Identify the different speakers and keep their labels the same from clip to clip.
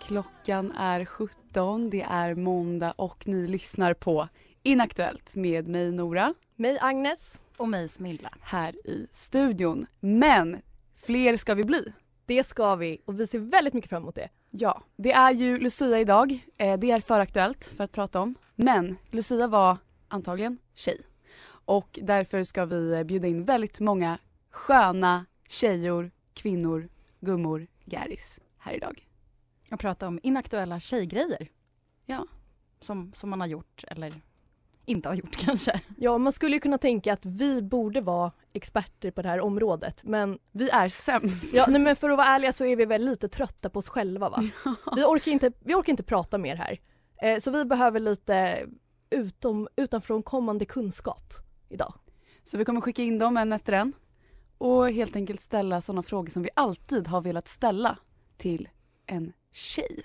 Speaker 1: Klockan är 17, det är måndag och ni lyssnar på Inaktuellt med mig Nora
Speaker 2: Mig Agnes.
Speaker 3: Och mig Smilla.
Speaker 1: här i studion. Men fler ska vi bli.
Speaker 2: Det ska vi och vi ser väldigt mycket fram emot det.
Speaker 1: Ja, det är ju Lucia idag. Eh, Det är för aktuellt för att prata om. Men Lucia var antagligen tjej. Och därför ska vi eh, bjuda in väldigt många sköna tjejor, kvinnor, gummor, gäris här idag.
Speaker 3: Och prata om inaktuella tjejgrejer.
Speaker 1: Ja.
Speaker 3: Som, som man har gjort eller inte har gjort kanske.
Speaker 4: Ja, man skulle ju kunna tänka att vi borde vara experter på det här området men,
Speaker 1: Vi är sämst.
Speaker 4: ja, nej, men för att vara ärliga så är vi väl lite trötta på oss själva va? Vi orkar inte, vi orkar inte prata mer här. Eh, så vi behöver lite utom, utanfrånkommande kunskap idag.
Speaker 1: Så vi kommer skicka in dem en efter en och helt enkelt ställa sådana frågor som vi alltid har velat ställa till en tjej.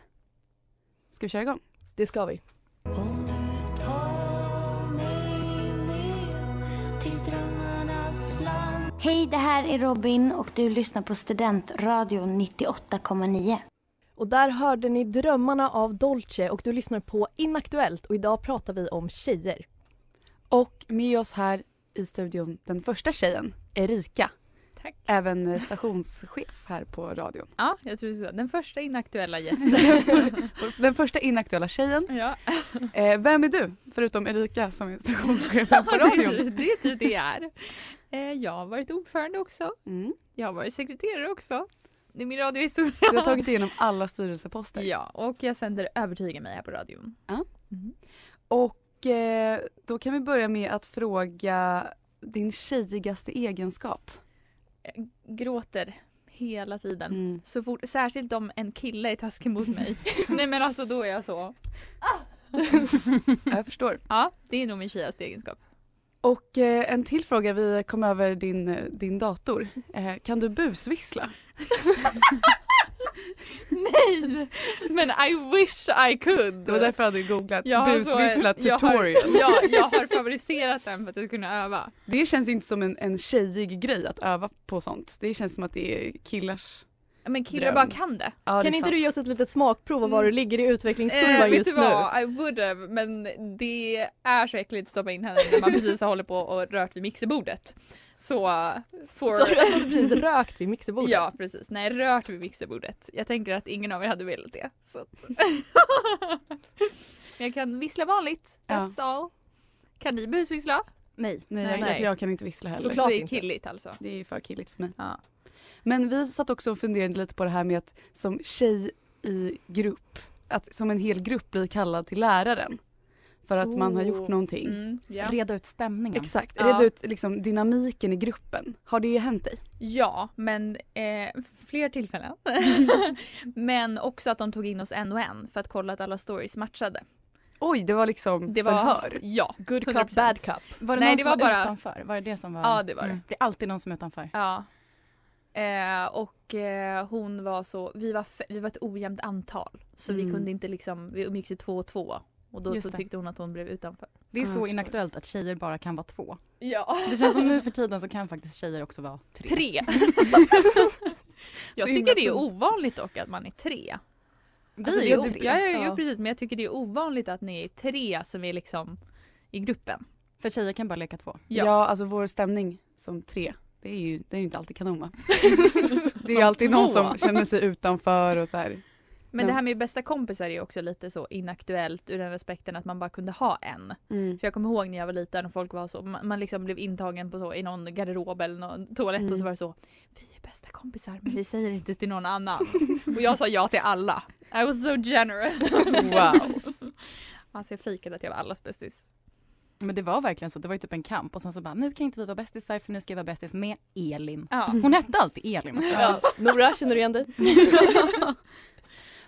Speaker 1: Ska vi köra igång?
Speaker 4: Det ska vi.
Speaker 5: Om du tar mig ner till drömmarnas land
Speaker 6: Hej, det här är Robin och du lyssnar på Studentradion 98,9.
Speaker 4: Och där hörde ni Drömmarna av Dolce och du lyssnar på Inaktuellt och idag pratar vi om tjejer.
Speaker 1: Och med oss här i studion den första tjejen, Erika.
Speaker 7: Tack.
Speaker 1: Även eh, stationschef här på radion.
Speaker 7: Ja, jag tror så. Den första inaktuella gästen.
Speaker 1: Den första inaktuella tjejen.
Speaker 7: ja.
Speaker 1: Eh, vem är du? Förutom Erika som är stationschef här på
Speaker 7: det, är
Speaker 1: radion.
Speaker 7: typ, det är typ det jag är. Eh, Jag har varit ordförande också.
Speaker 1: Mm.
Speaker 7: Jag har varit sekreterare också. Det är min radiohistoria.
Speaker 1: Du har tagit igenom alla styrelseposter.
Speaker 7: Ja, och jag sänder Övertyga mig här på radion.
Speaker 1: Och eh, då kan vi börja med att fråga din tjejigaste egenskap.
Speaker 7: Eh, Gråter hela tiden.
Speaker 1: Mm.
Speaker 7: Så fort, särskilt om en kille är taskig mot mig. Nej men alltså då är jag så.
Speaker 1: Ja, Jag förstår.
Speaker 7: Ja, det är nog min tjejigaste egenskap.
Speaker 1: Och eh, en till fråga, vi kom över din, eh, din dator. Eh, kan du busvissla?
Speaker 7: Nej! Men I wish I could.
Speaker 1: Det var därför jag hade googlat
Speaker 7: Jag har så-
Speaker 1: busvissla
Speaker 7: jag har-
Speaker 1: tutorial.
Speaker 7: Ja, jag har favoriserat den för att jag ska kunna öva.
Speaker 1: Det känns ju inte som en, en tjejig grej att öva på sånt. Det känns som att det är killars...
Speaker 7: Ja, Men killar
Speaker 1: Dröm.
Speaker 7: bara kan det.
Speaker 1: Ja, det
Speaker 4: kan
Speaker 1: är
Speaker 4: inte
Speaker 1: sant.
Speaker 4: du ge oss ett litet smakprov av var du ligger i
Speaker 7: Mm. Eh,
Speaker 4: utvecklingskurvan
Speaker 7: vet
Speaker 4: just
Speaker 7: du
Speaker 4: nu?
Speaker 7: vad, I would have, men det är så äckligt att stoppa in händerna när man precis har hållit på och rört vid mixerbordet. Så, eh, for...
Speaker 4: Så du har precis rökt vid mixerbordet?
Speaker 7: Ja precis, nej rört vid mixerbordet. Jag tänker att ingen av er hade velat det. Så att... men jag kan vissla vanligt, that's all. Kan ni busvissla?
Speaker 3: Nej.
Speaker 1: Nej,
Speaker 7: Nej,
Speaker 1: jag,
Speaker 4: nej.
Speaker 1: jag kan inte vissla heller.
Speaker 4: Såklart
Speaker 7: det är
Speaker 4: inte.
Speaker 7: killigt alltså.
Speaker 1: Det är för killigt för mig.
Speaker 7: Ja.
Speaker 1: Men vi satt också och funderade lite på det här med att som tjej i grupp, att som en hel grupp bli kallad till läraren. För att man har gjort
Speaker 3: Oh. mm,
Speaker 1: någonting.
Speaker 7: Mm, ja.
Speaker 3: Reda ut stämningen.
Speaker 1: Exakt,
Speaker 7: Ja.
Speaker 1: reda ut liksom, dynamiken i gruppen. Har det hänt dig?
Speaker 7: Ja, men eh, fler tillfällen. men också att de tog in oss en och en för att kolla att alla stories matchade.
Speaker 1: Oj, det var liksom
Speaker 7: Det var,
Speaker 1: förhör.
Speaker 7: ja.
Speaker 4: Good cup,
Speaker 7: 100%.
Speaker 4: bad cup.
Speaker 3: Var det
Speaker 7: Nej,
Speaker 3: någon
Speaker 7: det
Speaker 3: som
Speaker 7: var bara-
Speaker 3: utanför? Var det det som var? Mm.
Speaker 7: Ja, det var det.
Speaker 3: Det är alltid någon som är utanför.
Speaker 7: Ja. Eh, och eh, hon var så, vi var, f- vi var ett ojämnt antal så vi
Speaker 1: Mm.
Speaker 7: kunde inte liksom, vi umgicks ju två och två och då
Speaker 3: Just
Speaker 7: så
Speaker 3: det.
Speaker 7: tyckte hon att hon blev utanför.
Speaker 3: Det
Speaker 1: Ja,
Speaker 3: är
Speaker 1: jag
Speaker 3: så
Speaker 1: förstår.
Speaker 3: inaktuellt att tjejer bara kan vara två.
Speaker 7: Ja.
Speaker 3: Det känns som nu för tiden så kan faktiskt tjejer också vara tre.
Speaker 7: Tre. jag
Speaker 1: Så
Speaker 7: tycker
Speaker 1: himla
Speaker 7: det är
Speaker 1: fint.
Speaker 7: ovanligt dock att man är tre.
Speaker 3: Vi
Speaker 7: Alltså,
Speaker 3: är
Speaker 7: det
Speaker 3: ju
Speaker 7: är o-
Speaker 3: tre.
Speaker 7: Ja, ja, ja,
Speaker 1: Ja.
Speaker 7: precis men jag tycker det är ovanligt att ni är tre som är liksom i gruppen.
Speaker 3: För tjejer kan bara leka två.
Speaker 7: Ja.
Speaker 1: Ja. alltså vår stämning som tre, det är ju, det är ju inte alltid kanon va? det är ju alltid någon
Speaker 7: två.
Speaker 1: som känner sig utanför och så här.
Speaker 7: Men
Speaker 1: Ja.
Speaker 7: det här med bästa kompisar är ju också lite så inaktuellt ur den respekten att man bara kunde ha en.
Speaker 1: Mm.
Speaker 7: För jag kommer ihåg när jag var liten och folk var så, man, man liksom blev intagen på så, i någon garderob eller någon toalett och så
Speaker 1: Mm.
Speaker 7: var det så Vi är bästa kompisar men vi säger inte till någon annan. och jag sa ja till alla. I was so generous.
Speaker 1: Wow.
Speaker 7: Alltså jag fejkade att jag var allas bästis.
Speaker 3: Men det var verkligen så, det var ju typ en kamp och sen så bara nu kan inte vi vara bästisar för nu ska jag vara bästis med Elin.
Speaker 7: Ja.
Speaker 3: Hon hette alltid Elin.
Speaker 4: Ja. Nora, känner du igen dig?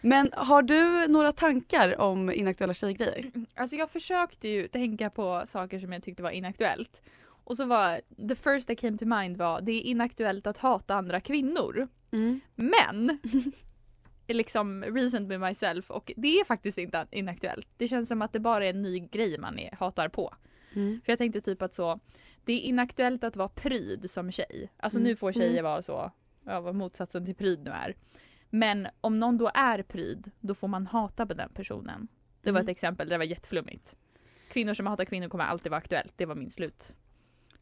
Speaker 1: Men har du några tankar om inaktuella tjejgrejer?
Speaker 7: Alltså jag försökte ju tänka på saker som jag tyckte var inaktuellt. Och så var, the first that came to mind var det är inaktuellt att hata andra kvinnor. Men! liksom recent with myself och det är faktiskt inte inaktuellt. Det känns som att det bara är en ny grej man är, hatar på. För jag tänkte typ att så, det är inaktuellt att vara pryd som tjej. Alltså nu får tjejer vara så, ja, vad motsatsen till pryd nu är. Men om någon då är pryd, då får man hata på den personen. Det var ett exempel, det var jätteflummigt. Kvinnor som hatar kvinnor kommer alltid vara aktuellt, det var min slut.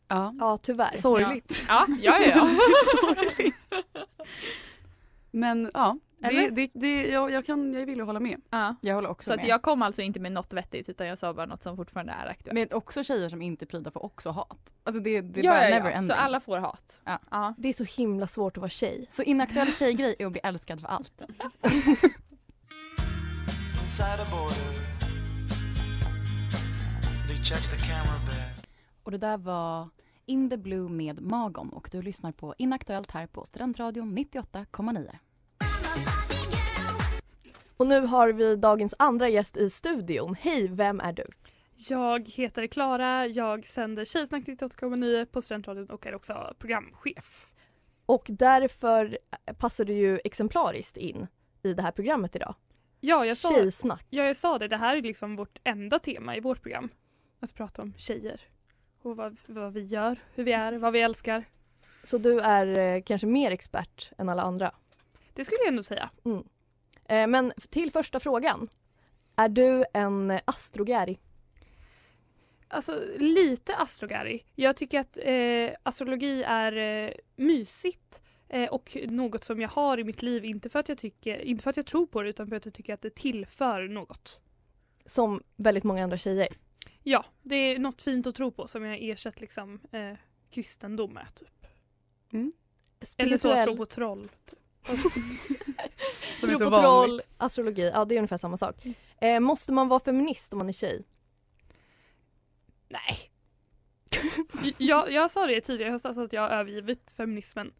Speaker 1: Ja.
Speaker 4: Ja, tyvärr.
Speaker 1: Sorgligt.
Speaker 7: Ja, ja, ja. ja.
Speaker 1: Men ja, det,
Speaker 7: Eller?
Speaker 1: det, det, jag, jag, kan, jag vill hålla med.
Speaker 7: ja.
Speaker 3: Jag håller också
Speaker 7: Så att
Speaker 3: med.
Speaker 7: jag kom alltså inte med något vettigt utan jag sa bara något som fortfarande är aktuellt.
Speaker 3: Men också tjejer som inte är pryda får också hat. Alltså det, det är
Speaker 7: ja, ja,
Speaker 3: bara never
Speaker 7: ja.
Speaker 3: ending.
Speaker 7: Så alla får hat.
Speaker 3: Ja.
Speaker 4: Det är så himla svårt att vara tjej.
Speaker 3: Så inaktuell tjejgrej är att bli älskad för allt.
Speaker 8: Inside a border, they check the camera bag.
Speaker 3: Och det där var In the Blue med Magom och du lyssnar på Inaktuellt här på Studentradion 98,9.
Speaker 4: Och nu har vi dagens andra gäst i studion. Hej, vem är du?
Speaker 9: Jag heter Klara, jag sänder Tjejsnack 98,9 på Studentradion och är också programchef.
Speaker 4: Och därför passar du ju exemplariskt in i det här programmet idag.
Speaker 9: Ja, jag sa,
Speaker 4: Tjejsnack.
Speaker 9: ja, jag sa det, det här är liksom vårt enda tema i vårt program. Att prata om tjejer och vad, vad vi gör, hur vi är, vad vi älskar.
Speaker 4: Så du är eh, kanske mer expert än alla andra.
Speaker 9: Det skulle jag ändå säga.
Speaker 4: Eh, men till första frågan. Är du en eh, astrogäri?
Speaker 9: Alltså lite astrogari. Jag tycker att eh, astrologi är eh, mysigt eh, och något som jag har i mitt liv. Inte för, att jag tycker, inte för att jag tror på det utan för att jag tycker att det tillför något.
Speaker 4: Som väldigt många andra tjejer.
Speaker 9: Ja, det är något fint att tro på som jag har ersatt liksom, eh, kristendom med. Typ.
Speaker 4: Mm.
Speaker 9: Eller så att tro på troll.
Speaker 1: Som
Speaker 4: Tro
Speaker 1: är så
Speaker 4: på
Speaker 1: vanligt.
Speaker 4: troll, astrologi. Ja, det är ungefär samma sak. Eh, måste man vara feminist om man är tjej?
Speaker 9: Nej. jag, jag sa det tidigare i höstas att jag har övergivit feminismen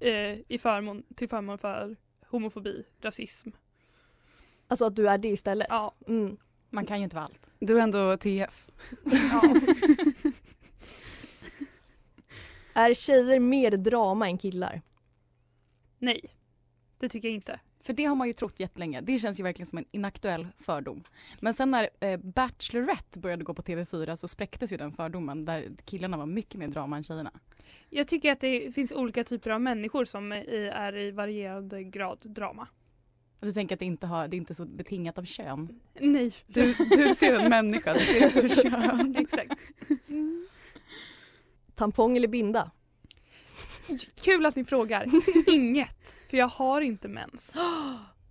Speaker 9: eh, i förmån, till förmån för homofobi, rasism.
Speaker 4: Alltså att du är det istället?
Speaker 9: Ja.
Speaker 4: Mm.
Speaker 3: Man kan ju inte vara allt.
Speaker 1: Du är ändå TF.
Speaker 4: Är tjejer mer drama än killar?
Speaker 9: Nej, det tycker jag inte.
Speaker 3: För det har man ju trott jättelänge. Det känns ju verkligen som en inaktuell fördom. Men sen när eh, Bachelorette började gå på TV4 så spräcktes ju den fördomen där killarna var mycket mer drama än tjejerna.
Speaker 9: Jag tycker att det finns olika typer av människor som eh, är i varierande grad drama.
Speaker 3: Du tänker att det inte, har, det är inte så betingat av kön.
Speaker 9: Nej,
Speaker 1: Du, du ser en människa, du ser inte kön.
Speaker 9: exakt.
Speaker 4: Tampong eller binda?
Speaker 9: Kul att ni frågar. Inget, för jag har inte mens.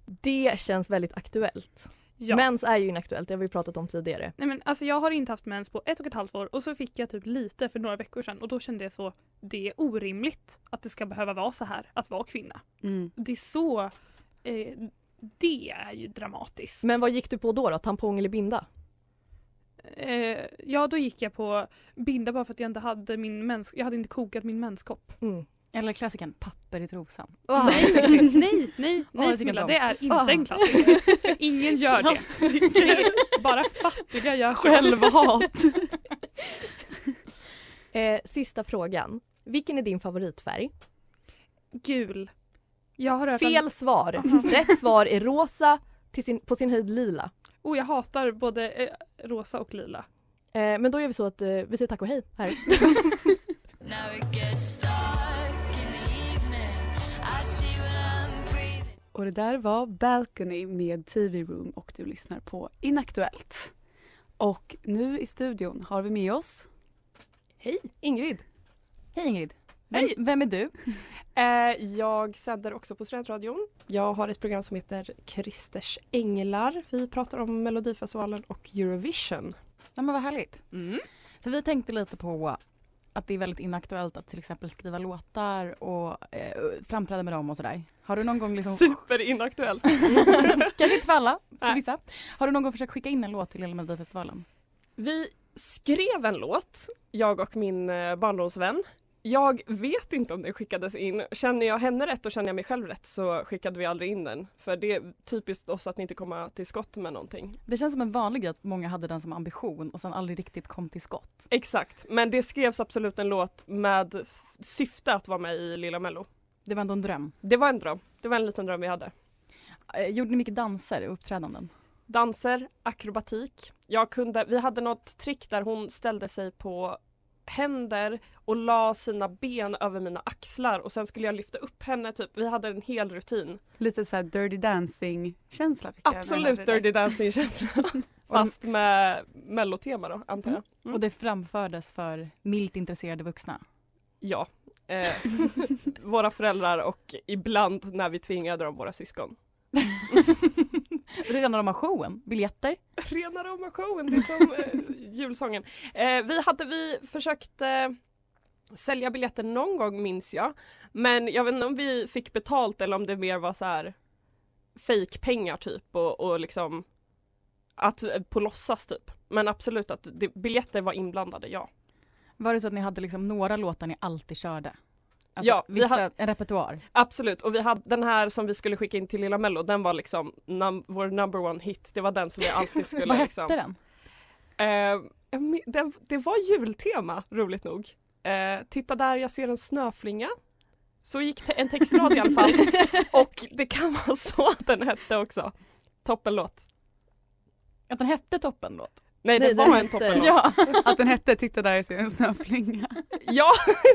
Speaker 4: Det känns väldigt aktuellt.
Speaker 9: Ja.
Speaker 4: Mens är ju inaktuellt, det har vi pratat om tidigare.
Speaker 9: Nej, men alltså, jag har inte haft mens på ett och ett halvt år och så fick jag typ lite för några veckor sedan och då kände jag så det är orimligt att det ska behöva vara så här att vara kvinna.
Speaker 1: Mm.
Speaker 9: Det är så, eh, det är ju dramatiskt.
Speaker 4: Men vad gick du på då? då? Tampong eller binda?
Speaker 9: eh, ja då gick jag på binda bara för att jag inte hade min mens, jag hade inte kokat min menskopp.
Speaker 4: Mm.
Speaker 3: Eller klassikern papper i trosan.
Speaker 9: nej, nej, nej, nej
Speaker 3: jag tycker
Speaker 9: Smilla,
Speaker 3: inte om.
Speaker 9: det är inte
Speaker 3: Ah.
Speaker 9: en klassiker. För Ingen gör det. bara fattiga gör så.
Speaker 3: Självhat.
Speaker 4: Eh, sista frågan. Vilken är din favoritfärg?
Speaker 9: Gul. Jag har rökt
Speaker 4: Fel svar. Rätt svar är rosa, till sin, på sin höjd lila.
Speaker 9: Oh, jag hatar både eh, rosa och lila.
Speaker 4: Eh, men då gör vi så att eh, vi säger tack och hej här.
Speaker 5: Now it gets dark in the evening. I see what I'm breathing.
Speaker 1: Och det där var Balcony med TV Room och du lyssnar på Inaktuellt. Och nu i studion har vi med oss...
Speaker 10: Hej, Ingrid.
Speaker 3: Hej Ingrid. Vem, vem är du?
Speaker 10: Eh, jag sänder också på Studentradion. Jag har ett program som heter Kristers änglar. Vi pratar om Melodifestivalen och Eurovision.
Speaker 3: Ja, men vad härligt.
Speaker 10: Mm.
Speaker 3: För vi tänkte lite på att det är väldigt inaktuellt att till exempel skriva låtar och eh, framträda med dem och sådär. Har du någon gång liksom...
Speaker 10: Superinaktuellt.
Speaker 3: Kanske inte för alla, för vissa. Har du någon gång försökt skicka in en låt till Lilla Melodifestivalen?
Speaker 10: Vi skrev en låt, jag och min eh, barndomsvän. Jag vet inte om den skickades in. Känner jag henne rätt och känner jag mig själv rätt så skickade vi aldrig in den. För det är typiskt oss att inte komma till skott med någonting.
Speaker 3: Det känns som en vanlig grej att många hade den som ambition och sen aldrig riktigt kom till skott.
Speaker 10: Exakt, men det skrevs absolut en låt med s- syfte att vara med i Lilla Mello.
Speaker 3: Det var ändå en dröm.
Speaker 10: Det var en dröm. Det var en liten dröm vi hade.
Speaker 3: Eh, Gjorde ni mycket danser och uppträdanden?
Speaker 10: Danser, akrobatik. Jag kunde, vi hade något trick där hon ställde sig på händer och la sina ben över mina axlar och sen skulle jag lyfta upp henne. Typ. Vi hade en hel rutin.
Speaker 1: Lite så här Dirty Dancing-känsla. fick jag när jag
Speaker 10: Absolut
Speaker 1: hörde det.
Speaker 10: Dirty Dancing-känsla. Fast med mellotema då, antar jag. Mm.
Speaker 3: Och det framfördes för milt intresserade vuxna.
Speaker 10: Ja. Eh, våra föräldrar och ibland när vi tvingade dem, våra syskon.
Speaker 3: Redan när de har showen, biljetter.
Speaker 10: Rena rama showen, det är som eh, julsången. Eh, vi hade vi försökt eh, sälja biljetter någon gång minns jag. Men jag vet inte om vi fick betalt eller om det mer var så här fejkpengar typ och, och liksom att eh, på låtsas typ. Men absolut att det, biljetter var inblandade, ja.
Speaker 3: Var det så att ni hade liksom några låtar ni alltid körde? Alltså,
Speaker 10: Ja, vi
Speaker 3: vissa,
Speaker 10: har-
Speaker 3: en repertoar.
Speaker 10: Absolut, och vi hade den här som vi skulle skicka in till Lilla Mello, den var liksom num- vår number one hit. Det var den som vi alltid skulle
Speaker 3: Vad
Speaker 10: liksom.
Speaker 3: hette den?
Speaker 10: Eh, jag min- den, det var jultema, roligt nog. Eh, titta där, jag ser en snöflinga. Så gick te- en textrad i alla fall. Och det kan vara så att den hette också. Toppenlåt.
Speaker 3: Att den hette Toppenlåt?
Speaker 10: Nej, det
Speaker 4: Nej, den
Speaker 10: var en
Speaker 4: hette-
Speaker 10: toppenlåt. Ja.
Speaker 3: Ja.
Speaker 1: Att den hette Titta där jag ser en snöflinga.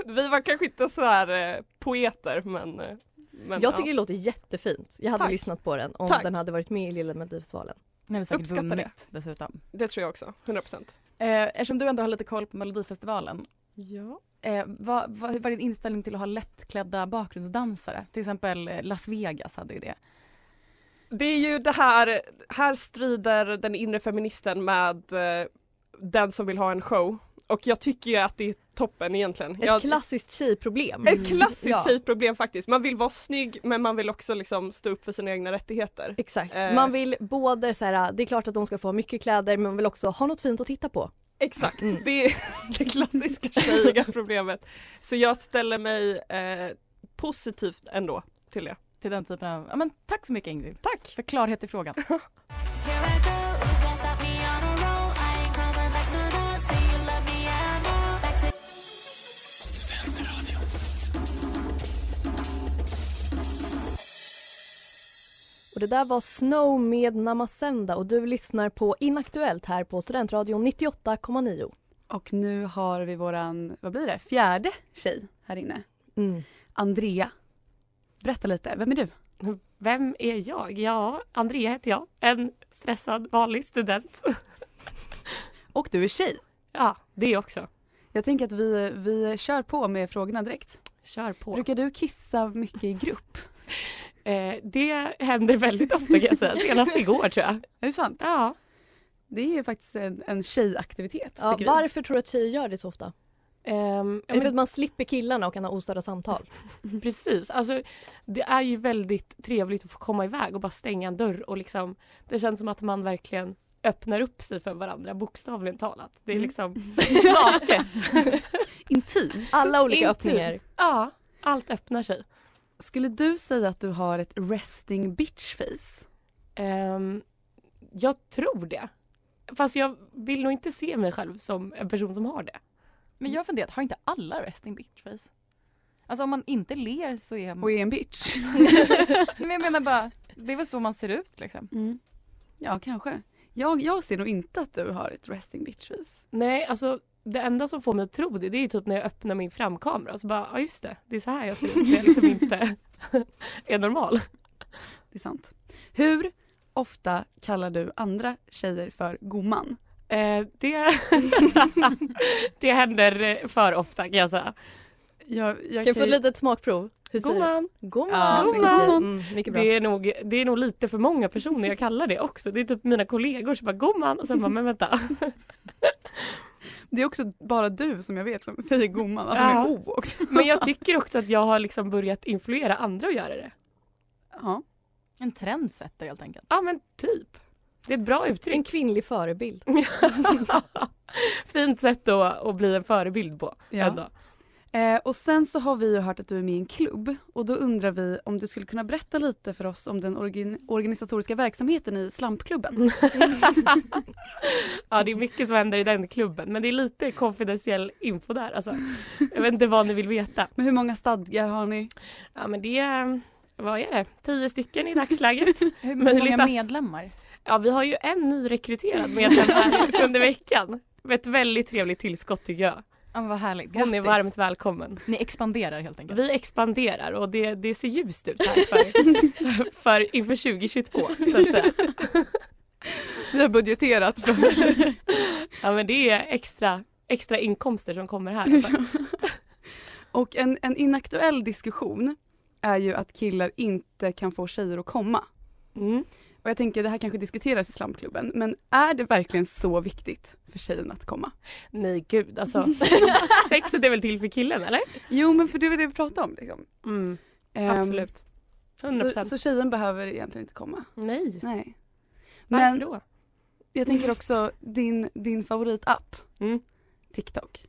Speaker 10: vi var kanske inte så här eh, poeter men... eh, men
Speaker 4: Jag tycker
Speaker 10: ja.
Speaker 4: det låter jättefint. Jag hade
Speaker 10: Tack.
Speaker 4: lyssnat på den om
Speaker 10: Tack.
Speaker 4: den hade varit med i Lilla Melodifestivalen.
Speaker 3: Ni har säkert
Speaker 10: Uppskattar det.
Speaker 3: vunnit dessutom.
Speaker 10: Det tror jag också, 100%.
Speaker 3: Eh, eftersom du ändå har lite koll på Melodifestivalen.
Speaker 10: Ja.
Speaker 3: Eh, vad, vad, hur var din inställning till att ha lättklädda bakgrundsdansare? Till exempel eh, Las Vegas hade ju det.
Speaker 10: Det är ju det här, här strider den inre feministen med eh, den som vill ha en show. Och jag tycker ju att det är toppen egentligen.
Speaker 4: Ett
Speaker 10: jag,
Speaker 4: klassiskt tjejproblem.
Speaker 10: Ett klassiskt
Speaker 4: Ja.
Speaker 10: tjejproblem faktiskt. Man vill vara snygg men man vill också liksom stå upp för sina egna rättigheter.
Speaker 4: Exakt.
Speaker 10: Eh.
Speaker 4: Man vill både så här, det är klart att de ska få ha mycket kläder men man vill också ha något fint att titta på. Mm.
Speaker 10: Exakt, det är det klassiska tjejiga problemet. Så jag ställer mig eh, positivt ändå till det.
Speaker 3: Till den typen av, ja men tack så mycket Ingrid.
Speaker 10: Tack!
Speaker 3: För klarhet i frågan.
Speaker 5: Here I go, ooh, that stopped me on a roll. I ain't coming back, no, no. Say you love me, I'm all back to
Speaker 4: Och det där var Snow med Namasenda och du lyssnar på Inaktuellt här på Studentradion 98,9.
Speaker 1: Och nu har vi våran, vad blir det, fjärde tjej här inne.
Speaker 4: Mm.
Speaker 1: Andrea. Berätta lite, vem är du?
Speaker 11: Vem är jag? Ja, Andrea heter jag. En stressad vanlig student.
Speaker 1: Och du är tjej.
Speaker 11: Ja, det också.
Speaker 1: Jag tänker att vi, vi kör på med frågorna direkt.
Speaker 11: Kör på.
Speaker 1: Brukar du kissa mycket i grupp?
Speaker 11: Eh, det händer väldigt ofta kan jag säga. Senast igår tror jag.
Speaker 1: Är det sant?
Speaker 11: Ja.
Speaker 1: Det är ju faktiskt en, en tjejaktivitet
Speaker 4: Ja,
Speaker 1: tycker vi.
Speaker 4: varför tror du att tjejer gör det så ofta?
Speaker 11: Ehm,
Speaker 4: Är det för att man slipper killarna och kan ha ostörda samtal?
Speaker 11: Precis. Alltså, det är ju väldigt trevligt att få komma iväg och bara stänga en dörr. Och liksom, det känns som att man verkligen öppnar upp sig för varandra, bokstavligen talat. Det är
Speaker 1: Mm.
Speaker 11: liksom naket.
Speaker 1: Intim.
Speaker 4: Alla olika
Speaker 11: Intimt.
Speaker 4: öppningar.
Speaker 11: Ja, allt öppnar sig.
Speaker 1: Skulle du säga att du har ett resting bitch face?
Speaker 11: Ehm, jag tror det.
Speaker 3: Fast jag vill nog inte se mig själv som en person som har det.
Speaker 7: Men jag har funderat, har inte alla resting bitch face? Alltså om man inte ler så är man...
Speaker 1: Och är en bitch.
Speaker 7: Men jag menar bara, det är väl så man ser ut liksom.
Speaker 1: Mm. Ja, kanske. Jag, jag ser nog inte att du har ett resting bitch face.
Speaker 3: Nej, alltså det enda som får mig att tro det, det är typ när jag öppnar min framkamera och så bara, ja just det, det är så här jag ser ut. när Jag liksom inte är normal.
Speaker 1: Det är sant. Hur ofta kallar du andra tjejer för gomman?
Speaker 3: Eh, det, det händer eh, för ofta kan jag säga.
Speaker 1: Jag,
Speaker 4: Kan jag få ett litet smakprov? Hur säger
Speaker 3: Gumman.
Speaker 4: du? Gumman!
Speaker 3: Ja,
Speaker 4: Mycket
Speaker 3: gumman.
Speaker 4: bra. Mm, mycket bra.
Speaker 3: Det är, nog, det är nog lite för många personer jag kallar det också. Det är typ mina kollegor som bara gumman och sen bara men vänta.
Speaker 1: Det är också bara du som jag vet som säger gomman, alltså
Speaker 3: Ja.
Speaker 1: med O också.
Speaker 3: Men jag tycker också att jag har liksom börjat influera andra att göra det.
Speaker 1: Ja.
Speaker 7: En trendsetter helt enkelt.
Speaker 3: Ja men typ. Det är ett bra uttryck.
Speaker 4: En kvinnlig förebild.
Speaker 3: Fint sätt då att bli en förebild på.
Speaker 1: Ja.
Speaker 3: Ändå.
Speaker 1: Eh, och sen så har vi ju hört att du är med i en klubb och då undrar vi om du skulle kunna berätta lite för oss om den orgin- organisatoriska verksamheten i
Speaker 3: Mm.
Speaker 1: Slampklubben.
Speaker 3: Ja, det är mycket som händer i den klubben men det är lite konfidentiell info där. Alltså, jag vet inte vad ni vill veta.
Speaker 1: Men hur många stadgar har ni?
Speaker 3: Ja, men det är, vad är det, tio stycken i dagsläget.
Speaker 7: Hur
Speaker 3: Möjligt
Speaker 7: många
Speaker 3: att-
Speaker 7: medlemmar?
Speaker 3: Ja, vi har ju en nyrekryterad medlem här under veckan. Ett väldigt trevligt tillskott tycker jag.
Speaker 7: Ja, men vad härligt.
Speaker 3: Hon är
Speaker 7: Grattis.
Speaker 3: varmt välkommen.
Speaker 7: Ni expanderar helt enkelt.
Speaker 3: Vi expanderar och det, det ser ljust ut här för, för inför 2022 så att säga.
Speaker 1: Vi har budgeterat för
Speaker 3: Ja men det är extra, extra inkomster som kommer här. Alltså.
Speaker 1: Och en, en inaktuell diskussion är ju att killar inte kan få tjejer att komma.
Speaker 3: Mm.
Speaker 1: Och jag tänker det här kanske diskuteras i slamklubben men är det verkligen så viktigt för tjejen att komma?
Speaker 3: Nej gud alltså. Sexet är väl till för killen eller?
Speaker 1: Jo men för det är det vi pratar om liksom.
Speaker 3: Mm,
Speaker 1: Ehm,
Speaker 3: absolut. 100%.
Speaker 1: Så, så tjejen behöver egentligen inte komma?
Speaker 3: Nej.
Speaker 1: Nej.
Speaker 3: Varför
Speaker 1: Men
Speaker 3: då?
Speaker 1: jag tänker också din, din favoritapp,
Speaker 3: Mm.
Speaker 1: TikTok.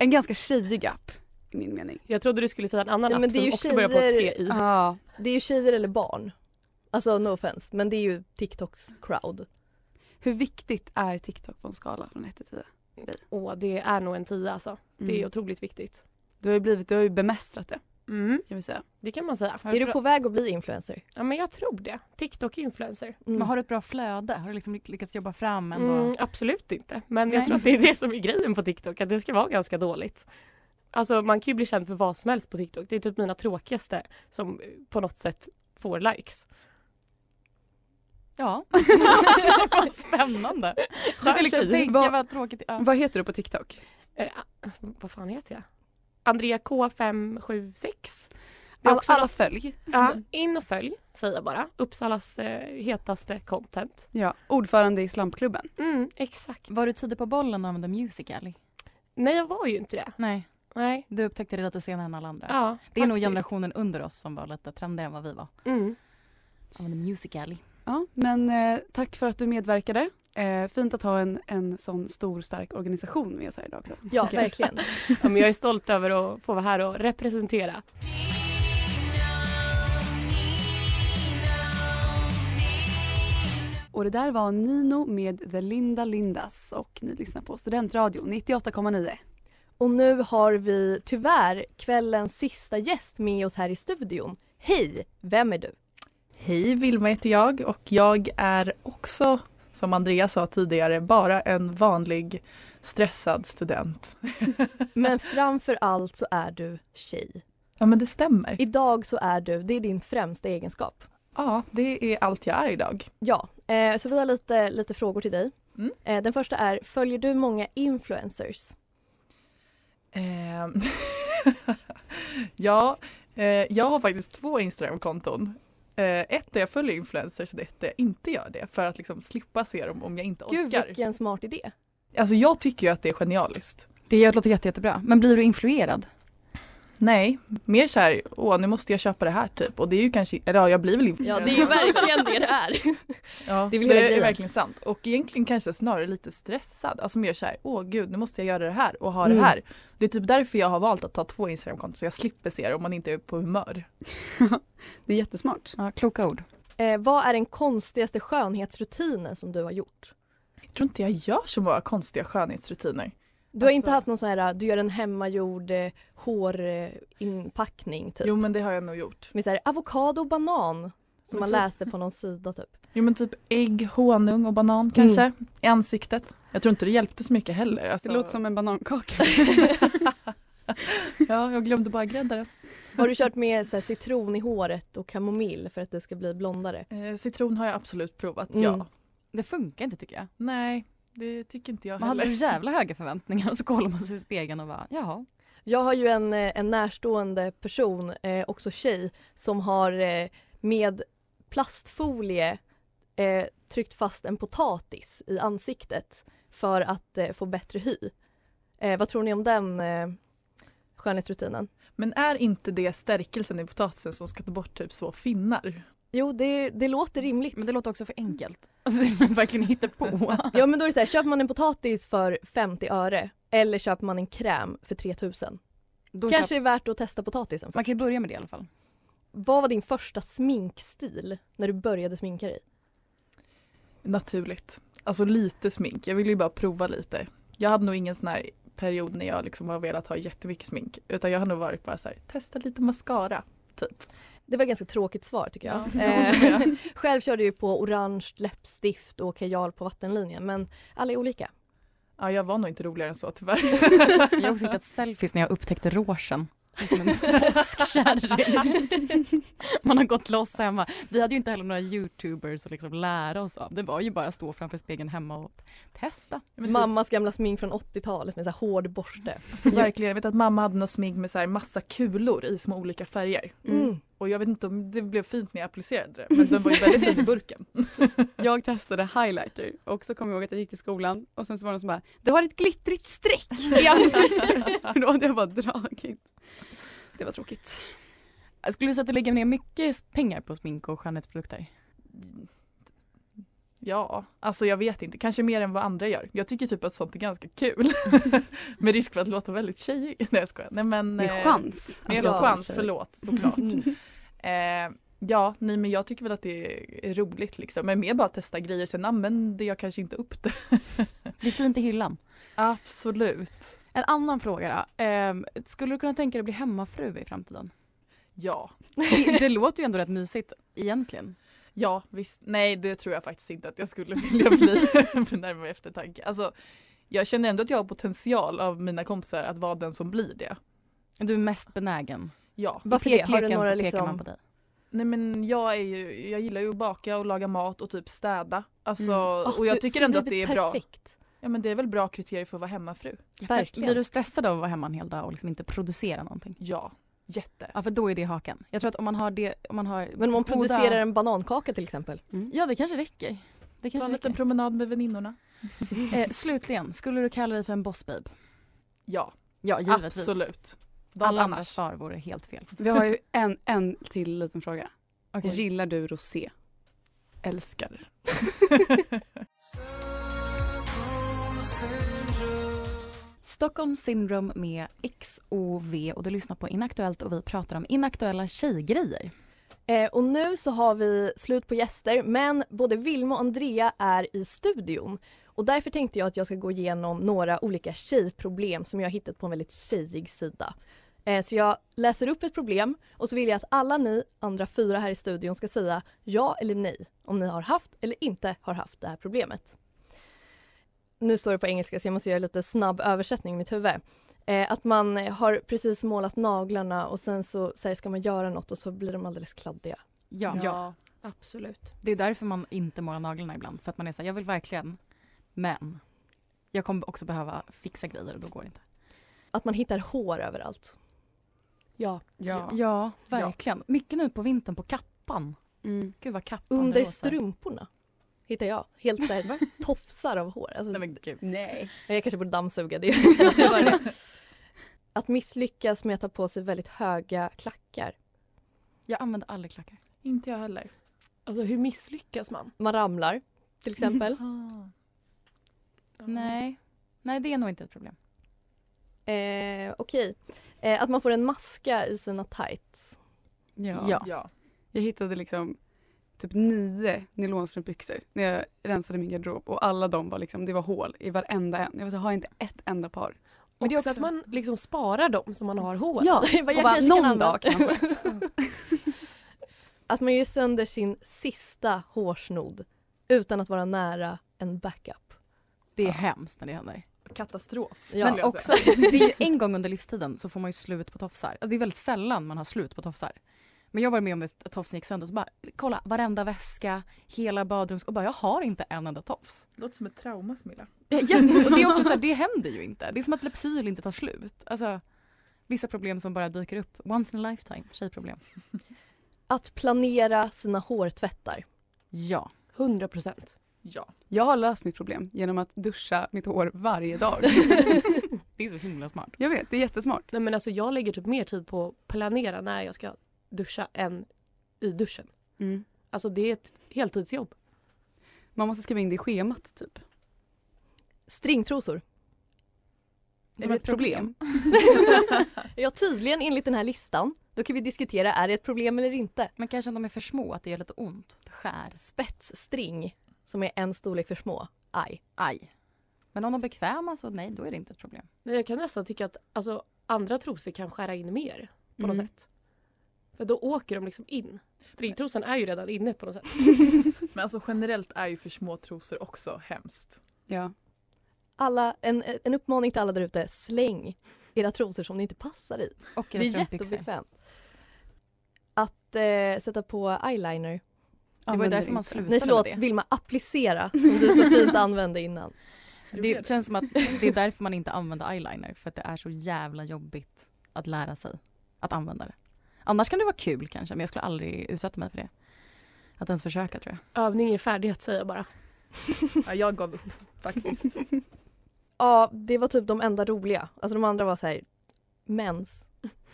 Speaker 1: en ganska tjejig app i min mening.
Speaker 3: Jag trodde du skulle säga en annan
Speaker 4: Nej, men
Speaker 3: app
Speaker 4: det är
Speaker 3: som
Speaker 4: ju
Speaker 3: också börjar på ett T
Speaker 4: tjejer-
Speaker 3: i.
Speaker 1: Ja.
Speaker 4: Det är ju tjejer eller barn. Alltså no offense, men det är ju TikToks crowd.
Speaker 1: Hur viktigt är TikTok på en skala från 1 till 10?
Speaker 3: Åh, det är nog en tia alltså. Det är
Speaker 1: Mm.
Speaker 3: otroligt viktigt.
Speaker 1: Du har ju blivit, du har ju bemästrat det
Speaker 3: Mm.
Speaker 1: kan vi säga.
Speaker 3: Det kan man säga.
Speaker 4: Är du på väg att bli influencer?
Speaker 3: Ja men jag tror det. TikTok-influencer.
Speaker 4: Mm.
Speaker 7: Men har du ett bra flöde? Har du liksom lyckats jobba fram ändå?
Speaker 3: Mm, absolut inte. Men jag
Speaker 7: Nej.
Speaker 3: tror att det är det som är grejen på TikTok, att det ska vara ganska dåligt. Alltså man kan ju bli känd för vad som helst på TikTok. Det är typ mina tråkigaste som eh, på något sätt får likes.
Speaker 7: Ja. vad spännande.
Speaker 3: Skön
Speaker 7: Försökte liksom
Speaker 3: tjej.
Speaker 7: tänka
Speaker 1: Vad-
Speaker 7: vad, tråkigt. Ja.
Speaker 1: Vad heter du på TikTok?
Speaker 3: Eh, a- vad fan heter jag? Andrea K576. Det är
Speaker 1: Alla,
Speaker 3: också
Speaker 1: alla
Speaker 3: något-
Speaker 1: följ.
Speaker 3: Ja, in och följ säger jag bara. Uppsalas eh, hetaste content.
Speaker 1: Ja, ordförande i Slampklubben.
Speaker 3: Mm, exakt.
Speaker 7: Var du tidig på bollen och använde Music Alley?
Speaker 3: Nej jag var ju inte det.
Speaker 7: Nej,
Speaker 3: Nej.
Speaker 7: du upptäckte det lite senare än alla andra.
Speaker 3: Ja,
Speaker 7: det är nog
Speaker 3: faktiskt.
Speaker 7: generationen under oss som var lite trendigare än vad vi var.
Speaker 3: Mm.
Speaker 7: Använde Music Alley.
Speaker 1: Ja, men eh, tack för att du medverkade. Eh, fint att ha en, en sån stor stark organisation med oss här idag också.
Speaker 4: Ja,
Speaker 1: Okej.
Speaker 4: verkligen.
Speaker 3: Ja, men jag är stolt över att få vara här och representera.
Speaker 1: Och det där var Nino med The Linda Lindas och ni lyssnar på Studentradio 98,9.
Speaker 4: Och nu har vi tyvärr kvällens sista gäst med oss här i studion. Hej, vem är du?
Speaker 10: Hej, Vilma heter jag och jag är också, som Andrea sa tidigare, bara en vanlig stressad student.
Speaker 4: Men framför allt så är du tjej.
Speaker 10: Ja, men det stämmer.
Speaker 4: Idag så är du, det är din främsta egenskap.
Speaker 10: Ja, det är allt jag är idag.
Speaker 4: Ja, eh, så vi har lite, lite frågor till dig.
Speaker 10: Mm.
Speaker 4: Eh, den första är, följer du många influencers?
Speaker 10: Ehm, ja, eh, jag har faktiskt två Instagram-konton. Eh, ett där jag följer influencers och ett där jag inte gör det för att liksom slippa se dem om jag inte
Speaker 4: Gud
Speaker 10: orkar.
Speaker 4: vilken smart idé.
Speaker 10: Alltså jag tycker ju att det är genialiskt.
Speaker 7: Det låter jätte, jättebra. Men blir du influerad?
Speaker 10: Nej, mer så här, åh nu måste jag köpa det här typ och det är ju kanske, eller ja jag blir väl
Speaker 4: Ja
Speaker 10: influencer.
Speaker 4: det är ju verkligen det det är.
Speaker 10: Ja,
Speaker 4: Det
Speaker 10: det är,
Speaker 4: är väl hela grejen.
Speaker 10: verkligen sant. Och egentligen kanske snarare lite stressad. Alltså mer så här, åh gud nu måste jag göra det här och ha
Speaker 4: Mm.
Speaker 10: det här. Det är typ därför jag har valt att ta två Instagramkonton så jag slipper se det om man inte är på humör.
Speaker 1: Det är jättesmart.
Speaker 7: Ja, kloka ord.
Speaker 4: Eh, vad är den konstigaste skönhetsrutinen som du har gjort?
Speaker 7: tror inte jag gör så många konstiga skönhetsrutiner.
Speaker 4: Du har
Speaker 7: Alltså-
Speaker 4: inte haft någon sån här, eh, du gör en hemmagjord eh, hårinpackning typ?
Speaker 7: Jo men det har jag nog gjort.
Speaker 4: Med så här, avokado och banan
Speaker 7: Men
Speaker 4: som man
Speaker 7: typ-
Speaker 4: läste på någon sida typ.
Speaker 7: Jo men typ ägg, honung och banan kanske i ansiktet. Jag tror inte det hjälpte så mycket heller. Alltså,
Speaker 3: Det låter som en banankaka.
Speaker 7: ja, jag glömde bara grädda den.
Speaker 4: Har du kört med så här, citron i håret och kamomill för att det ska bli blondare?
Speaker 7: Eh, citron har jag absolut provat,
Speaker 4: Mm.
Speaker 7: ja.
Speaker 3: Det funkar inte tycker jag.
Speaker 7: Nej, det tycker inte jag
Speaker 3: Man hade
Speaker 7: heller.
Speaker 3: så jävla höga förväntningar och så kollar man sig i spegeln och bara jaha.
Speaker 4: Jag har ju en, eh, en närstående person, eh, också tjej, som har eh, med plastfolie eh, tryckt fast en potatis i ansiktet för att eh, få bättre hy. Eh, vad tror ni om den eh, skönhetsrutinen?
Speaker 7: Men är inte det stärkelsen i potatisen som ska ta bort typ så finnar?
Speaker 4: Jo, det, det låter rimligt. Men
Speaker 3: det låter också för enkelt. Alltså det är verkligen hittar på.
Speaker 4: ja, men då är det så här, köper man en potatis för 50 öre eller köper man en kräm för 3000?
Speaker 3: Då
Speaker 4: Kanske
Speaker 3: köp-
Speaker 4: är det värt att testa potatisen
Speaker 3: Man
Speaker 4: först.
Speaker 3: kan ju börja med det i alla fall.
Speaker 4: Vad var din första sminkstil när du började sminka dig?
Speaker 7: Naturligt. Alltså lite smink, jag ville ju bara prova lite. Jag hade nog ingen sån här period när jag liksom har velat ha jättemycket smink utan jag har nog varit bara så här, testa lite mascara.
Speaker 4: Det var ett ganska tråkigt svar tycker jag.
Speaker 7: Ja,
Speaker 4: Eh,
Speaker 7: jag håller
Speaker 4: själv körde jag ju på orange läppstift och kajal på vattenlinjen men alla är olika.
Speaker 7: Ja, jag var nog inte roligare än så tyvärr.
Speaker 3: Jag har också hittat selfies när jag upptäckte rogen. Som en påskkärring. Man har gått loss hemma. Vi hade ju inte heller några youtubers att liksom lära oss av. Det var ju bara att stå framför spegeln hemma och testa.
Speaker 7: typ-
Speaker 4: Mammas gamla smink från 80-talet med så här hård borste.
Speaker 7: Så verkligen, jag vet att mamma hade något smink med så här massa kulor i små olika färger.
Speaker 4: Mm.
Speaker 7: Och jag vet inte om det blev fint när jag applicerade det men den var ju väldigt fin i burken.
Speaker 3: Jag testade highlighter och så kom jag ihåg att jag gick till skolan och sen så var det som bara Du har ett glittrigt streck i ansiktet. Och Då hade jag bara dragit. Det var tråkigt. Skulle du säga att du lägger ner mycket pengar på smink och skönhetsprodukter?
Speaker 7: Ja, alltså jag vet inte, kanske mer än vad andra gör. Jag tycker typ att sånt är ganska kul. med risk för att låta väldigt tjejig. Nej jag skojar. Nej, men,
Speaker 3: Med
Speaker 7: eh,
Speaker 3: chans.
Speaker 7: Med
Speaker 3: Ja,
Speaker 7: chans,
Speaker 3: tjej.
Speaker 7: förlåt såklart. eh, ja, nej men jag tycker väl att det är roligt liksom. Men mer bara att testa grejer, sen använder jag kanske inte upp det.
Speaker 3: Det är fint i hyllan.
Speaker 7: Absolut.
Speaker 3: En annan fråga då. Ehm, skulle du kunna tänka dig att bli hemmafru i framtiden?
Speaker 7: Ja.
Speaker 3: Det, det låter ju ändå rätt mysigt egentligen.
Speaker 7: Ja, visst. Nej, det tror jag faktiskt inte att jag skulle vilja bli med närmare eftertanke. Alltså, jag känner ändå att jag har potential av mina kompisar att vara den som blir det.
Speaker 3: Du är mest benägen.
Speaker 7: Ja.
Speaker 4: Varför
Speaker 3: I
Speaker 4: det? Har du
Speaker 3: pekleken
Speaker 4: några
Speaker 3: så pekar
Speaker 4: liksom-
Speaker 3: man på dig.
Speaker 7: Nej men jag är ju, jag gillar ju att baka och laga mat och typ städa. Alltså,
Speaker 12: Mm.
Speaker 4: Åh,
Speaker 7: och jag
Speaker 4: Ah, du
Speaker 7: tycker
Speaker 4: skulle
Speaker 7: ändå att det är
Speaker 4: blivit
Speaker 7: bra.
Speaker 4: perfekt.
Speaker 7: Ja men det är väl bra kriterier för att vara hemmafru.
Speaker 3: Blir du stressad av att vara hemma en hel dag och liksom inte producera någonting?
Speaker 7: Ja, jätte.
Speaker 3: Ja, för då är det haken. Jag tror att om man har det, om man har
Speaker 4: Men om man
Speaker 3: goda-
Speaker 4: producerar en banankaka till exempel.
Speaker 3: Ja, det kanske räcker. Det
Speaker 7: Ta en
Speaker 3: kanske
Speaker 7: liten
Speaker 3: räcker.
Speaker 7: promenad med väninnorna.
Speaker 3: Eh, slutligen, skulle du kalla dig för en bossbabe?
Speaker 7: Ja,
Speaker 3: Ja, givetvis.
Speaker 7: absolut. Vad
Speaker 3: Alla andra
Speaker 7: annars?
Speaker 3: svar vore helt fel.
Speaker 1: Vi har ju en, en till liten fråga.
Speaker 3: Okej.
Speaker 1: Gillar du rosé?
Speaker 7: Älskar.
Speaker 3: Stockholm syndrome med XOV och du lyssnar på Inaktuellt och vi pratar om inaktuella tjejgrejer.
Speaker 4: Eh, och nu så har vi slut på gäster men både Vilma och Andrea är i studion. Och därför tänkte jag att jag ska gå igenom några olika tjejproblem som jag har hittat på en väldigt tjejig sida. Eh, så jag läser upp ett problem och så vill jag att alla ni andra fyra här i studion ska säga ja eller nej om ni har haft eller inte har haft det här problemet. Nu står det på engelska så jag måste göra lite snabb översättning i mitt huvud. Eh, att man eh, har precis målat naglarna och sen så, så här, ska man göra något och så blir de alldeles kladdiga.
Speaker 3: Ja.
Speaker 10: Absolut.
Speaker 3: Det är därför man inte målar naglarna ibland. För att man är så här, jag vill verkligen, men jag kommer också behöva fixa grejer och då går det inte.
Speaker 4: Att man hittar hår överallt. Ja.
Speaker 3: Ja, verkligen. Mycket nu på vintern på kappan.
Speaker 1: Mm.
Speaker 3: Gud vad kappan
Speaker 4: Under
Speaker 3: blåser.
Speaker 4: strumporna hittar jag helt så här, tofsar av hår. Alltså,
Speaker 3: Nej, men gud.
Speaker 4: nej. Jag kanske borde dammsuga det. Det var det. att misslyckas med att ta på sig väldigt höga klackar.
Speaker 3: Jag använder aldrig klackar.
Speaker 7: Inte jag heller.
Speaker 10: Alltså hur misslyckas man?
Speaker 4: Man ramlar till exempel.
Speaker 7: Ah.
Speaker 3: Mm. Nej. Nej, det är nog inte ett problem.
Speaker 4: eh, Okej. Eh, att man får en maska i sina tights.
Speaker 3: Ja.
Speaker 7: Ja.
Speaker 3: Jag hittade liksom
Speaker 1: typ nio nylonstrumpbyxor när jag rensade min garderob och alla de var liksom, det var hål i varenda en. Jag var så, har jag inte ett enda par.
Speaker 12: Men det är också att man liksom sparar dem som man har hål.
Speaker 1: Ja,
Speaker 4: Jag
Speaker 1: och
Speaker 4: kanske
Speaker 1: bara,
Speaker 4: kan
Speaker 1: någon
Speaker 4: använda-
Speaker 1: dag kanske.
Speaker 4: Att man gör sönder sin sista hårsnodd utan att vara nära en backup.
Speaker 3: Det är hemskt när det händer.
Speaker 4: Katastrof.
Speaker 3: Men också, det är ju en gång under livstiden så får man ju slut på tofsar. Alltså det är väldigt sällan man har slut på tofsar. Men jag var med om ett att tofsen gick sönder så bara kolla varenda väska, hela badrums och bara jag har inte en enda tofs.
Speaker 7: Låter som ett trauma Smilla.
Speaker 3: Ja, ja, och det är också så här, det händer ju inte. Det är som att Lypsyl inte tar slut. Alltså vissa problem som bara dyker upp. Once in a lifetime, tjejproblem.
Speaker 4: Att planera sina hårtvättar.
Speaker 3: Ja.
Speaker 4: 100 procent.
Speaker 7: Ja.
Speaker 1: Jag har löst mitt problem genom att duscha mitt hår varje dag.
Speaker 3: Det är så himla smart.
Speaker 1: jag vet, det är jättesmart.
Speaker 10: Nej men alltså jag lägger typ mer tid på att planera när jag ska duscha än i duschen.
Speaker 1: Mm.
Speaker 10: Alltså det är ett heltidsjobb.
Speaker 1: Man måste skriva in det i schemat typ.
Speaker 4: Stringtrosor.
Speaker 1: Som ett problem?
Speaker 4: ja, tydligen enligt den här listan. Då kan vi diskutera, är det ett problem eller inte?
Speaker 3: Men kanske om de är för små, att det gör lite ont. Det skär.
Speaker 4: Spetsstring, som är en storlek för små. Aj.
Speaker 3: Aj. Men om de är bekväma så nej, då är det inte ett problem.
Speaker 10: Nej, jag kan nästan tycka att alltså, andra trosor kan skära in mer på
Speaker 3: Mm.
Speaker 10: något sätt. För då åker de liksom in. Stringtrosan är ju redan inne på något sätt.
Speaker 7: Men alltså generellt är ju för små trosor också hemskt.
Speaker 1: Ja.
Speaker 4: Alla, en, en uppmaning till alla där ute, släng era trosor som ni inte passar i.
Speaker 3: Och
Speaker 4: det
Speaker 3: era
Speaker 4: är
Speaker 3: strumpbyxor.
Speaker 4: jätteobekvämt. Att eh, sätta på eyeliner.
Speaker 3: var ju
Speaker 4: Använder
Speaker 3: därför man
Speaker 4: inte.
Speaker 3: slutade
Speaker 4: Nej förlåt,
Speaker 3: med det.
Speaker 4: Vilma, applicera som du så fint använde innan.
Speaker 3: Det känns som att det är därför man inte använder eyeliner. För att det är så jävla jobbigt att lära sig att använda det. Annars kan det vara kul kanske, men jag skulle aldrig utsätta mig för det. Att ens försöka tror jag.
Speaker 10: Övning är färdighet säger jag bara.
Speaker 7: Ja, jag gav upp faktiskt.
Speaker 4: Ja, det var typ de enda roliga. Alltså de andra var så här, mens,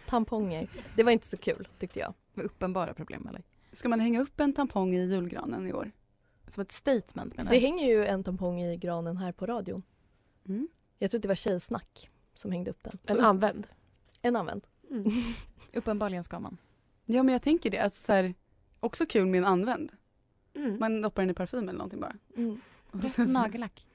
Speaker 4: tamponger. Det var inte så kul tyckte jag.
Speaker 3: Med uppenbara problem eller?
Speaker 1: Ska man hänga upp en tampong i julgranen i år?
Speaker 3: Som ett statement
Speaker 4: Så det hänger ju en tampong i granen här på radion.
Speaker 10: Mm.
Speaker 4: Jag tror att det var Tjejsnack som hängde upp den.
Speaker 10: En använd.
Speaker 4: En använd.
Speaker 10: Mm.
Speaker 3: Uppenbarligen ska man.
Speaker 1: Ja men jag tänker det. Alltså, så här, också kul med en använd.
Speaker 10: Mm.
Speaker 1: Man doppar den i parfym eller någonting bara.
Speaker 4: Mm.
Speaker 1: Och
Speaker 3: Rätt
Speaker 1: sen så-
Speaker 3: nagellack.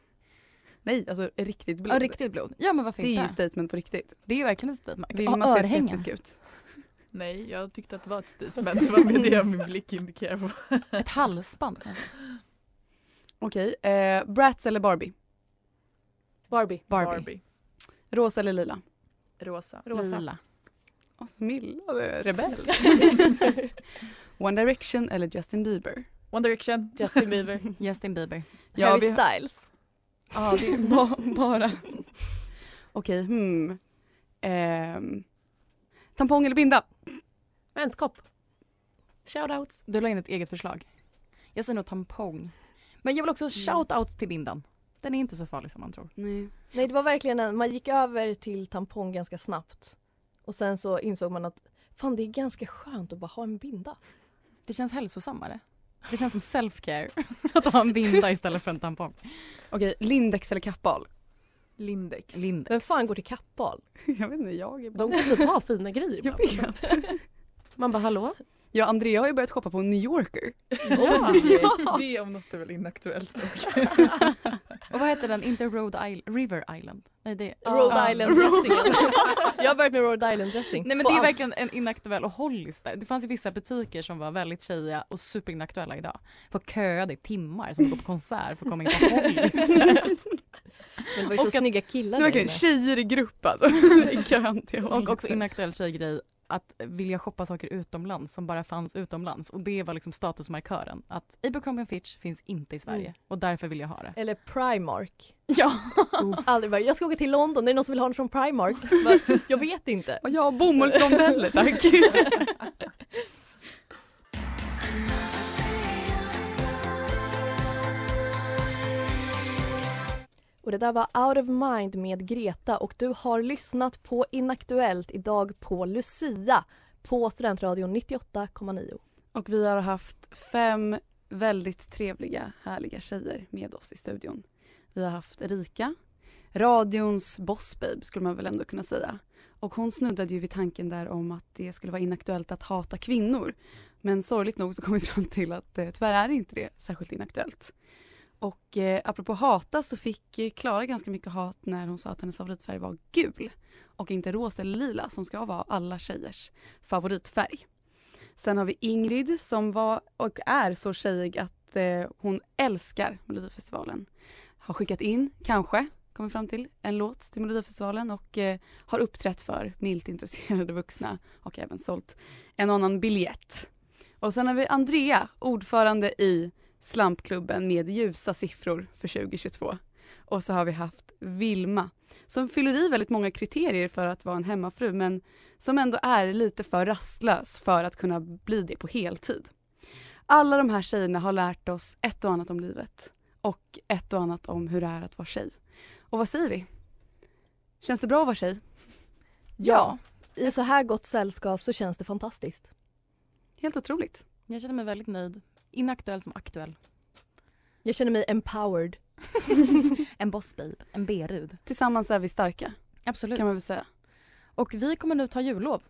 Speaker 1: Nej, alltså riktigt blod.
Speaker 3: Ja, riktigt blod. Ja, men varför
Speaker 1: det är
Speaker 3: inte?
Speaker 1: ju statement på riktigt.
Speaker 3: Det är ju verkligen ett statement.
Speaker 1: Vill man
Speaker 3: Och
Speaker 1: se
Speaker 3: örhängen.
Speaker 1: skeptisk ut?
Speaker 7: Nej, jag tyckte att det var ett statement. Det var mer det min blick indikerar på.
Speaker 3: Ett halsband kanske?
Speaker 1: Okej, eh, Bratz eller Barbie?
Speaker 10: Barbie.
Speaker 3: Barbie.
Speaker 1: Rosa eller lila?
Speaker 7: Rosa.
Speaker 12: Mm.
Speaker 10: Rosa.
Speaker 3: Lila.
Speaker 1: Och Smilla, du är rebell. One Direction eller Justin Bieber?
Speaker 7: One Direction.
Speaker 10: Justin Bieber.
Speaker 3: Justin Bieber.
Speaker 1: Ja,
Speaker 4: Harry
Speaker 1: vi-
Speaker 4: Styles.
Speaker 1: Ja, det är ba- bara... Okej, hmm. Ehm, tampong eller binda?
Speaker 10: Vänskap. Shoutouts.
Speaker 3: Du la in ett eget förslag. Jag säger nog tampong. Men jag vill också shout-out till bindan. Den är inte så farlig som man tror.
Speaker 1: Nej.
Speaker 4: Nej, det var verkligen en, man gick över till tampong ganska snabbt. Och sen så insåg man att fan det är ganska skönt att bara ha en binda.
Speaker 3: Det känns hälsosammare. Det känns som self-care. Att ha en binda istället för en tampong.
Speaker 1: Okej, Lindex eller kappal?
Speaker 7: Lindex.
Speaker 3: Lindex.
Speaker 4: Vem fan går till kappal?
Speaker 1: Jag vet inte, jag är
Speaker 10: De kan typ ha fina grejer
Speaker 1: Jag
Speaker 10: ibland.
Speaker 1: vet.
Speaker 10: Man bara hallå?
Speaker 1: Ja, Andrea har ju börjat shoppa på New Yorker.
Speaker 7: Det om något är väl inaktuellt.
Speaker 3: Och vad heter den? Inte Rhode Island? River Island? Nej, det är...
Speaker 4: Rhode
Speaker 3: Ja.
Speaker 4: Island dressing. jag har börjat med Rhode Island dressing.
Speaker 3: Nej men
Speaker 4: På
Speaker 3: det är
Speaker 4: allt.
Speaker 3: verkligen en inaktuell och Hollis där. Det fanns ju vissa butiker som var väldigt tjejiga och superinaktuella idag. Folk köade i timmar som går på konsert för att komma in på Hollis.
Speaker 4: Men det var ju så
Speaker 3: och att-
Speaker 4: snygga
Speaker 1: Det
Speaker 4: killar
Speaker 1: är
Speaker 4: där
Speaker 1: verkligen
Speaker 4: inne.
Speaker 1: tjejer i grupp alltså. I kön till
Speaker 3: Och
Speaker 7: Mm.
Speaker 1: Hollister.
Speaker 3: också inaktuell tjejgrej att vilja shoppa saker utomlands som bara fanns utomlands. Och det var liksom statusmarkören. Att Abercrombie Fitch finns inte i Sverige
Speaker 4: Mm.
Speaker 3: och därför vill jag ha det.
Speaker 4: Eller Primark.
Speaker 3: Ja.
Speaker 4: Aldrig bara, jag ska åka till London, är det någon som vill ha något från Primark? Bara, jag vet inte.
Speaker 1: Och jag bomullsrondeller tack.
Speaker 4: Och det där var Out of Mind med Greta och du har lyssnat på Inaktuellt idag på Lucia på Studentradion 98,9.
Speaker 1: Och vi har haft fem väldigt trevliga, härliga tjejer med oss i studion. Vi har haft Erika, radions bossbabe skulle man väl ändå kunna säga. Och hon snuddade ju vid tanken där om att det skulle vara inaktuellt att hata kvinnor. Men sorgligt nog så kom vi fram till att eh, tyvärr är inte det särskilt inaktuellt. Och eh, apropå hata så fick eh, Klara ganska mycket hat när hon sa att hennes favoritfärg var gul och inte rosa eller lila som ska vara alla tjejers favoritfärg. Sen har vi Ingrid som var och är så tjejig att eh, hon älskar Melodifestivalen. Har skickat in, kanske, kommer fram till, en låt till Melodifestivalen och eh, har uppträtt för milt intresserade vuxna och även sålt en och annan biljett. Och sen har vi Andrea, ordförande i Slampklubben med ljusa siffror för 2022. Och så har vi haft Vilma som fyller i väldigt många kriterier för att vara en hemmafru men som ändå är lite för rastlös för att kunna bli det på heltid. Alla de här tjejerna har lärt oss ett och annat om livet och ett och annat om hur det är att vara tjej. Och vad säger vi? Känns det bra att vara tjej?
Speaker 4: Ja, i så här gott sällskap så känns det fantastiskt.
Speaker 1: Helt otroligt.
Speaker 3: Jag känner mig väldigt nöjd. Inaktuell som aktuell.
Speaker 4: Jag känner mig empowered.
Speaker 3: en bossbabe, en berud.
Speaker 1: Tillsammans är vi starka.
Speaker 3: Absolut.
Speaker 1: Kan man väl säga.
Speaker 3: Och vi kommer nu ta jullov.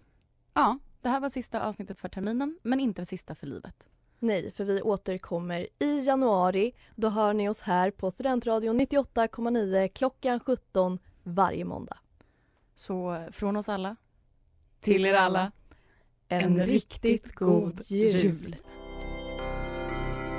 Speaker 1: Ja.
Speaker 3: Det här var sista avsnittet för terminen, men inte det sista för livet.
Speaker 4: Nej, för vi återkommer i januari. Då hör ni oss här på Studentradion 98,9 klockan 17 varje måndag.
Speaker 3: Så från oss alla
Speaker 4: Till er alla,
Speaker 10: en riktigt god jul.